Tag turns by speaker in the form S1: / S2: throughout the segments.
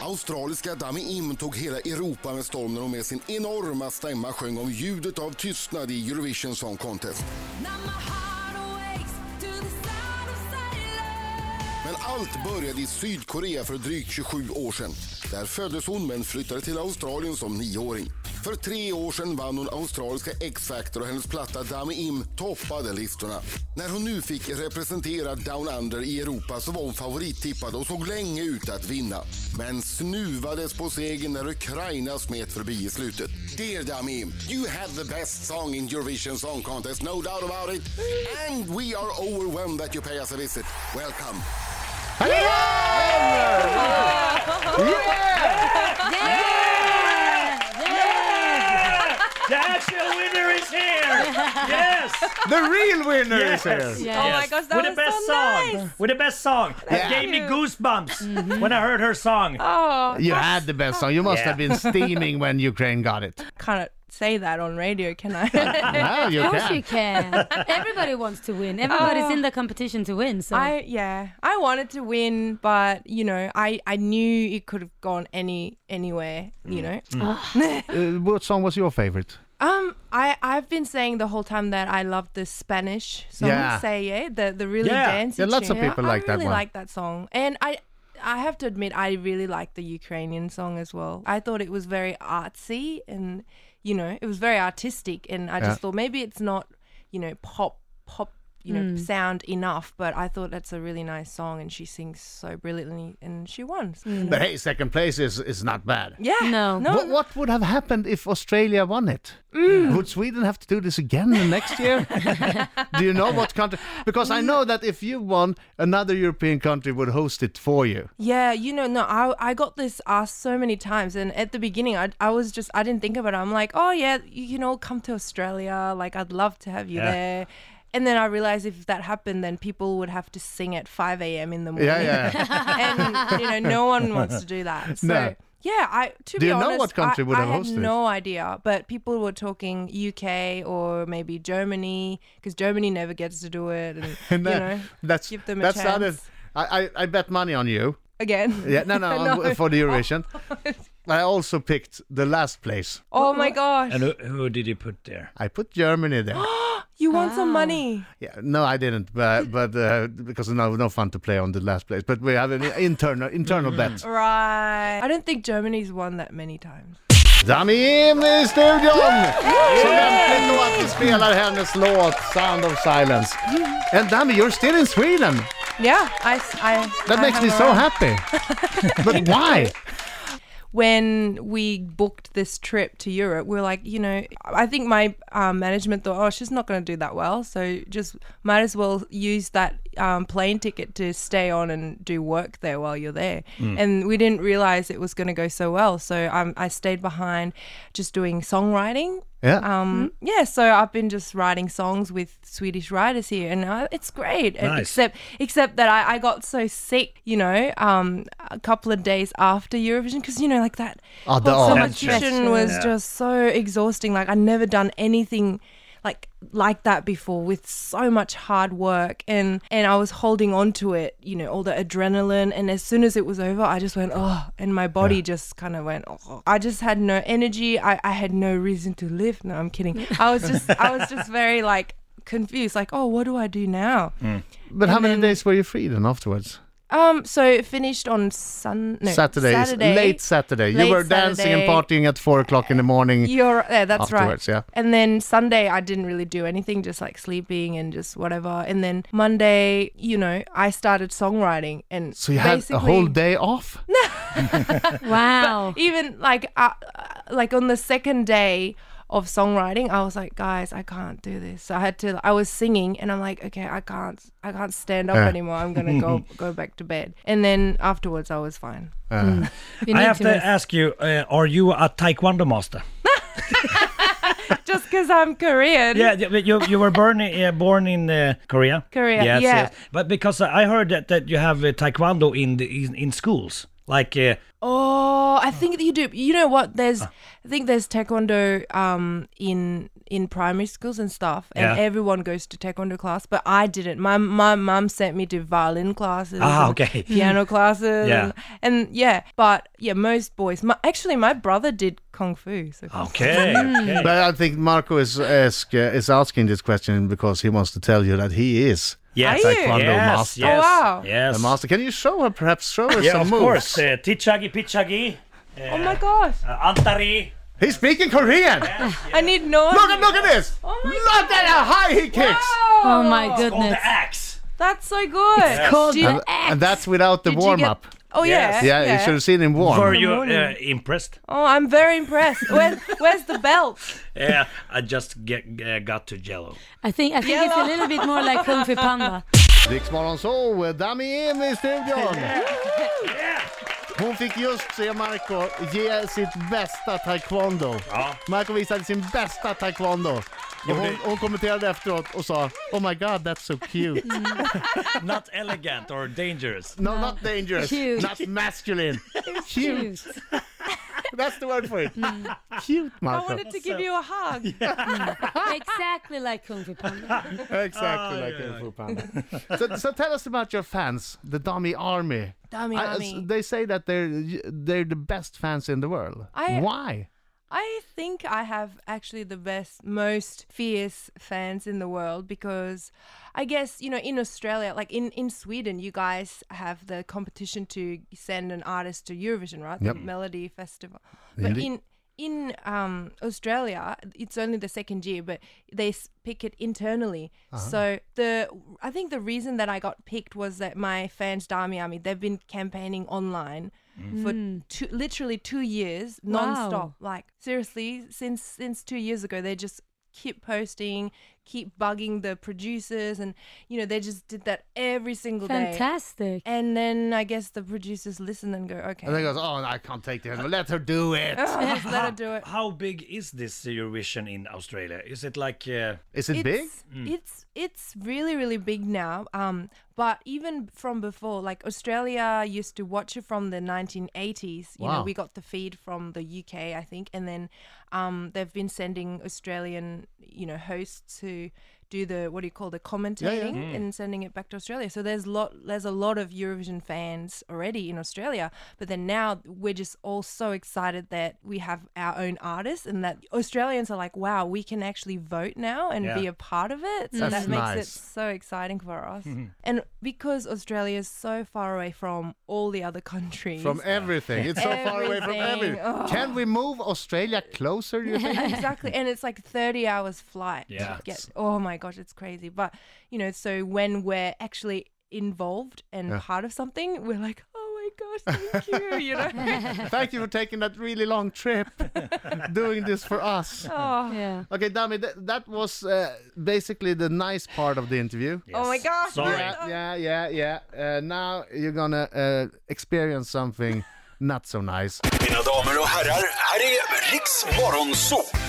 S1: Australiska Dami Im tog hela Europa med storm när hon med sin enorma stämma sjöng om ljudet av tystnad i Eurovision Song Contest.
S2: Now my heart awakes to the sound of silence.
S1: Men allt började i Sydkorea för drygt 27 år sedan. Där föddes hon men flyttade till Australien som nioåring. För tre år sedan vann hon australiska X-Factor och hennes platta Dami Im toppade listorna. När hon nu fick representera Down Under i Europa så var hon favorittippad och såg länge ut att vinna. Men snuvades på segern när Ukraina smet förbi i slutet. Dear Dami Im, you have the best song in Eurovision Song Contest, no doubt about it. And we are overwhelmed that you pay us a visit. Welcome!
S3: Han är här! Yeah!
S4: That's the winner is here! Yes!
S3: The real winner is here!
S4: Yes.
S5: Oh my gosh, that
S4: With the
S5: was
S4: best
S5: so
S4: song!
S5: nice.
S4: With the best song! It gave me
S5: you. Mm-hmm.
S4: goosebumps when I heard her song.
S5: Oh,
S3: You had the best song. You must
S4: Yeah.
S3: have been steaming when Ukraine got it.
S5: can't say that on radio, can I?
S3: Now you
S6: Oh, Of course you
S3: can.
S6: can. Everybody wants to win. Everybody's
S5: Oh.
S6: in the competition to win. So
S5: I yeah, I wanted to win, but you know, I I knew it could have gone any anywhere,
S4: Mm.
S5: you know.
S3: Uh, what song was your favorite?
S5: Um, I I've been saying the whole time that I love the Spanish song
S3: Yeah.
S5: "Say Yeah," the the really
S4: Yeah.
S5: dancey.
S3: Yeah, lots of
S5: tune.
S3: people
S5: I
S3: like that
S5: really
S3: one.
S5: like that song, and I I have to admit I really like the Ukrainian song as well. I thought it was very artsy and you know it was very artistic, and I just
S3: Yeah.
S5: thought maybe it's not you know pop pop you know sound enough, but I thought that's a really nice song, and she sings so brilliantly, and she won. so, you know.
S3: But hey, second place is, is not bad.
S5: Yeah,
S6: No.
S5: no,
S3: What, what would have happened if Australia won it?
S5: Mm.
S3: Would Sweden have to do this again the next year? do you know what country? Because I know that if you won, another European country would host it for you.
S5: Yeah, you know, no, I I got this asked so many times, and at the beginning, I I was just I didn't think about it. I'm like, oh yeah, you can all come to Australia. Like I'd love to have you
S4: Yeah.
S5: there. And then I realized if that happened, then people would have to sing at 5 a.m. in the morning.
S3: Yeah, yeah.
S5: and you know, no one wants to do that. So
S3: No.
S5: yeah, I to
S3: Do
S5: be
S3: you know
S5: honest,
S3: what country
S5: I,
S3: would
S5: I
S3: have
S5: had
S3: hosted it?
S5: no idea, but people were talking UK or maybe Germany because Germany never gets to do it. And,
S3: And
S5: you
S3: that-
S5: know,
S3: that's
S5: give them a
S3: that's
S5: chance
S3: not it. I, I, I bet money on you.
S5: again.
S3: Yeah, no, no,
S5: No.
S3: for the Eurovision. I also picked the last place.
S5: Oh my gosh.
S4: And who, who did you put there?
S3: I put Germany there.
S5: You want some money?
S3: yeah, no, I didn't, but but uh, because no no fun to play on the last place. But we have an internal internal
S5: Mm.
S3: bet.
S5: Right. I don't think Germany's won that many times.
S3: Dami in i studion! Så lämpligt då att vi spelar hennes låt Sound of Silence. And Dami, you're still in Sweden.
S5: Yeah, I. s- I-
S3: That
S5: I
S3: makes
S5: have
S3: me
S5: a-
S3: so happy. But why?
S5: When we booked this trip to Europe, we are like, you know, I think my um, management thought, oh, she's not going to do that well, so just might as well use that um, plane ticket to stay on and do work there while you're there.
S3: Hmm.
S5: And we didn't realize it was going to go so well, so um, I stayed behind, just doing songwriting
S3: Yeah.
S5: Um, Yeah, so I've been just writing songs with Swedish writers here, and uh, it's great. And
S4: Nice.
S5: Except, except that I, I got so sick, you know, um, a couple of days after Eurovision, because you know, like that
S3: Oh, the
S5: whole
S3: orange.
S5: competition was
S4: Yeah.
S5: just so exhausting. Like I'd never done anything. Like like that before with so much hard work and and I was holding on to it you know all the adrenaline and as soon as it was over I just went oh and my body just kind of went oh I just had no energy I, I had no reason to live no I'm kidding I was just I was just very like confused like oh what do I do now
S3: Mm. But how many days were you free then afterwards?
S5: um so it finished on sun no,
S3: Saturday, is- late Saturday. you
S5: Late
S3: were dancing and
S5: Saturday.
S3: partying at four o'clock in the morning.
S5: You're yeah, that's
S3: afterwards,
S5: right.
S3: yeah.
S5: And then Sunday I didn't really do anything, just like sleeping and just whatever. And then Monday, you know, I started songwriting and
S3: So you had a
S5: basically-
S3: whole day off?
S6: wow.
S5: Even like uh, like on the second day of songwriting, I was like, guys, I can't do this. So I had to. I was singing and I'm like, okay, I can't, I can't stand up
S3: Yeah.
S5: anymore. I'm gonna go go back to bed. And then afterwards, I was fine.
S6: You
S4: I
S6: need
S4: have to
S6: rest.
S4: ask you, uh, are you a taekwondo master?
S5: Just because I'm Korean.
S4: Yeah, you, you, you were born, uh, born in uh, Korea.
S5: Korea,
S4: Yes,
S5: yeah.
S4: yes. But because I heard that, that you have uh, taekwondo in, the, in in schools. Like, uh,
S5: Oh, I think that you do. You know what? There's, I think there's taekwondo um in in primary schools and stuff, and
S4: Yeah.
S5: everyone goes to taekwondo class. But I didn't. My my mum sent me to violin classes.
S4: Ah,
S5: and
S4: okay.
S5: Piano classes.
S4: Yeah.
S5: and, and yeah, but yeah, most boys. My, actually, my brother did kung
S3: Oh,
S5: fu. So
S4: okay,
S5: Hmm.
S4: okay.
S3: But I think Marco is ask, uh, is asking this question because he wants to tell you that he is
S4: yes,
S5: Are
S4: I can.
S5: you?
S3: Taekwondo
S4: yes,
S3: master.
S4: Yes,
S5: Oh, wow.
S4: Yes.
S3: a master. Can you show her, perhaps show her
S4: Yeah,
S3: some
S4: of
S3: moves?
S4: course. Uh, tichagi, pichagi. Uh,
S5: Oh my gosh!
S4: Uh, antari.
S3: He's speaking Korean.
S5: I need no.
S3: Look at look at this.
S5: Oh my
S3: look at how high he kicks.
S6: Oh my
S4: Called
S6: goodness.
S4: the axe.
S5: That's so good. It's
S4: called
S5: did,
S3: And, and that's without the
S5: did you
S3: warm
S5: get-
S3: up.
S5: Oh
S4: Yes.
S5: yeah.
S3: Yeah, you should have seen him warm.
S4: Were you uh,
S5: morning.
S4: impressed?
S5: Oh, I'm very impressed. Where, where's the belt?
S4: Yeah, I just get, uh, got to jello.
S6: I think I think it's a little bit more like Kung Fu Panda.
S3: Riksmorgon så, uh, Dami Im i studion! Hon fick just se Marco ge sitt bästa taekwondo.
S4: Ja.
S3: Marco visade sin bästa taekwondo. Och
S4: Gjorde-
S3: hon, hon kommenterade efteråt och sa Oh my god that's so cute.
S5: Mm.
S4: Not elegant or dangerous.
S3: No not dangerous,
S6: Cute.
S3: not masculine. Cute,
S6: Cute.
S3: that's the word for it.
S5: Mm.
S3: Cute
S5: I
S3: Marco.
S5: wanted to give you a hug.
S6: exactly like Kung Fu Panda.
S3: Exactly like Kung Fu Panda. so, so tell us about your fans, the Dami Army.
S5: Dami
S3: I-
S5: Army.
S3: they say that they're they're the best fans in the world.
S5: I-
S3: Why?
S5: I think I have actually the best, most fierce fans in the world because I guess, you know, in Australia, like in, in Sweden, you guys have the competition to send an artist to Eurovision, right?
S3: Yep.
S5: The Melody Festival. But
S3: Indeed.
S5: in in um, Australia, it's only the second year, but they s- pick it internally. So the I think the reason that I got picked was that my fans, Dami Army, they've been campaigning online for two, literally two years,
S6: Wow.
S5: non-stop. Like seriously, since since two years ago, they just keep posting, keep bugging the producers, and you know they just did that every single day.
S6: Fantastic.
S5: And then I guess the producers listen and go, okay,
S3: And they goes, oh, I can't take that. Let her do it.
S5: just let her do it.
S4: How big is this Eurovision in Australia? Is it like uh,
S3: Is it big?
S5: it's, It's it's really really big now. Um, but even from before, like Australia used to watch it from the 1980s. You
S3: Wow.
S5: know, we got the feed from the UK, I think, and then um, they've been sending Australian, you know, hosts who do the what do you call the commentating and sending it back to Australia. So there's lot there's a lot of Eurovision fans already in Australia, but then now we're just all so excited that we have our own artists and that Australians are like, wow, we can actually vote now and be
S4: Yeah.
S5: a part of it. So
S3: That's
S5: that makes it
S3: nice.
S5: so exciting for us. And because Australia is so far away from all the other countries.
S3: From everything. It's so far away from everything.
S5: uh, Everything. Oh.
S3: Can we move Australia closer, you think?
S5: exactly and it's like 30 hours flight
S4: Yeah.
S5: to get, oh my gosh it's crazy but you know so when we're actually involved and part of something we're like oh my gosh thank you you know
S3: Thank you for taking that really long trip, doing this for us.
S5: oh,
S6: Yeah.
S3: Okay, Dami, th- that was uh, basically the nice part of the interview.
S5: oh my
S4: Yes.
S5: gosh
S4: Sorry.
S3: Yeah, yeah, yeah. yeah. Uh, now you're gonna uh, experience something not so nice.
S7: Mina damer och herrar, här är Riks Morgonzoo!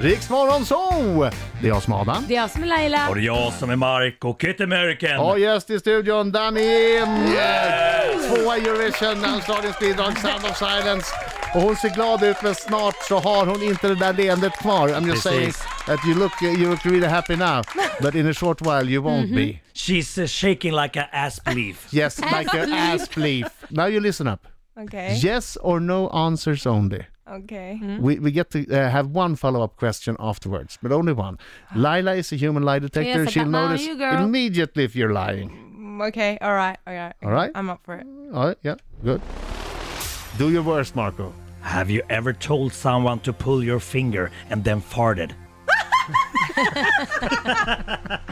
S3: Riksmorgon så! Det är jag som är Adam.
S6: Det är jag som är Laila.
S4: Och det är jag som är Marco Kid American.
S3: Och gäst i studion, Damim! Tvåa i Eurovision, Australiens bidrag Sound of Silence. Och hon ser glad ut men snart så har hon inte det där leendet kvar. I'm just saying
S4: Precis.
S3: that you look, you look really happy now. But in a short while you won't be.
S4: She's uh, shaking like an asp leaf.
S3: Yes, like an
S6: Asleep.
S3: ass leaf. Now you listen up.
S5: okay
S3: Yes or no answers only.
S5: okay
S3: We, we get to uh, have one follow-up question afterwards, but only one. Lila is a human lie detector.
S6: Yes, I
S3: She'll
S6: got mine on
S3: notice
S6: you, girl.
S3: immediately if you're lying.
S5: Mm, okay all right all right
S3: All right.
S5: i'm up for it
S3: All right, yeah, good. Do your worst, Marco.
S4: Have you ever told someone to pull your finger and then farted?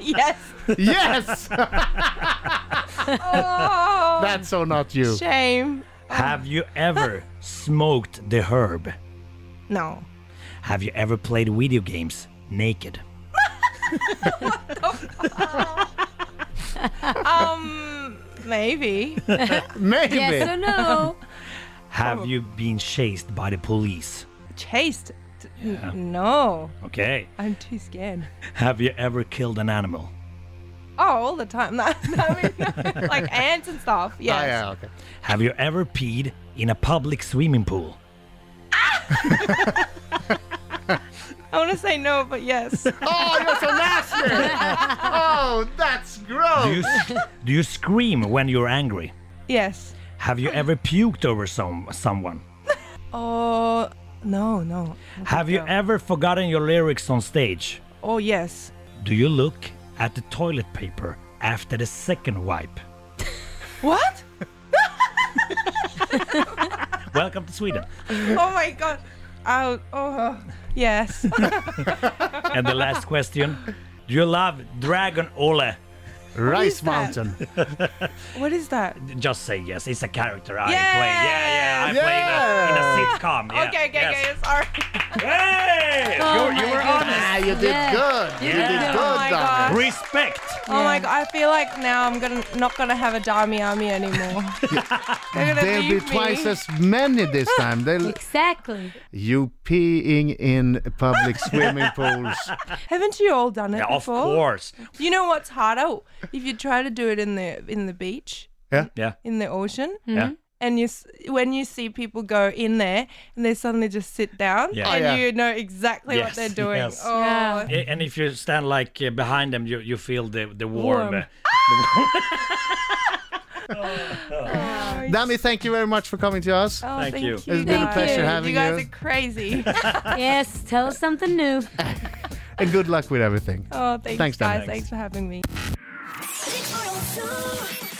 S5: yes
S3: yes!
S5: oh
S3: That's so not you.
S5: shame
S4: Have you ever smoked the herb?
S5: no
S4: Have you ever played video games naked?
S5: um maybe
S3: Maybe.
S6: Yes or no?
S4: Have you been chased by the police?
S5: chased T- n- no
S4: Okay.
S5: i'm too scared
S4: Have you ever killed an animal?
S5: Oh, all the time. I mean, like ants and stuff. Yes.
S3: Ah, yeah, okay.
S4: Have you ever peed in a public swimming pool?
S5: I want to say no, but yes.
S3: Oh, you're so nasty! oh, that's gross!
S4: Do you, do you scream when you're angry?
S5: yes.
S4: Have you ever puked over some someone?
S5: Oh, no, no.
S4: Have you ever forgotten your lyrics on stage?
S5: Oh, yes.
S4: Do you look at the toilet paper after the second wipe?
S5: What?
S4: Welcome to Sweden.
S5: Oh my god. Oh, oh. Yes.
S4: And the last question. Do you love Dragon Ole?
S3: Rice
S5: that?
S3: Mountain.
S5: what is that?
S4: Just say yes. It's a character I
S5: Yes!
S4: play. Yeah, yeah. I play in a- in a,
S3: Yeah!
S4: sitcom. Yeah.
S5: okay, okay,
S4: yes.
S5: okay. Sorry.
S4: Hey!
S6: Oh
S4: you you
S6: my
S4: were
S6: goodness.
S4: honest.
S3: Ah, you did
S6: Yeah.
S3: good. You
S6: Yeah.
S3: did
S6: Oh
S3: good,
S5: my
S3: Daniel.
S5: God.
S4: Respect.
S5: Oh my
S6: Yeah.
S5: god. I feel like now I'm gonna not gonna have a Dami army anymore. They're gonna
S3: There'll be
S5: leave
S3: twice
S5: me.
S3: as many this time. They'll,
S6: Exactly.
S3: you peeing in public swimming pools.
S5: Haven't you all done it
S4: Yeah, of
S5: before?
S4: course.
S5: You know what's harder? If you try to do it in the in the beach,
S4: Yeah.
S5: in the ocean,
S4: Yeah.
S5: and you s- when you see people go in there and they suddenly just sit down,
S4: Yeah.
S5: and
S3: Oh, yeah.
S5: you know exactly
S4: Yes,
S5: what they're doing.
S4: yes.
S5: Oh,
S6: Yeah.
S4: A- And if you stand like uh, behind them, you, you feel the, the warm.
S6: Warm.
S3: Dami, thank you very much for coming to us.
S5: oh,
S4: Thank you. It's
S3: it's been a
S5: guys.
S3: pleasure having
S5: You
S3: you, Oh,
S5: guys are crazy.
S6: Yes, tell us something new.
S3: and good luck with everything.
S5: oh, thanks,
S3: Thanks, Dan.
S5: guys.
S3: Thanks.
S5: Thanks for having me.
S2: Rick Morgonzoo.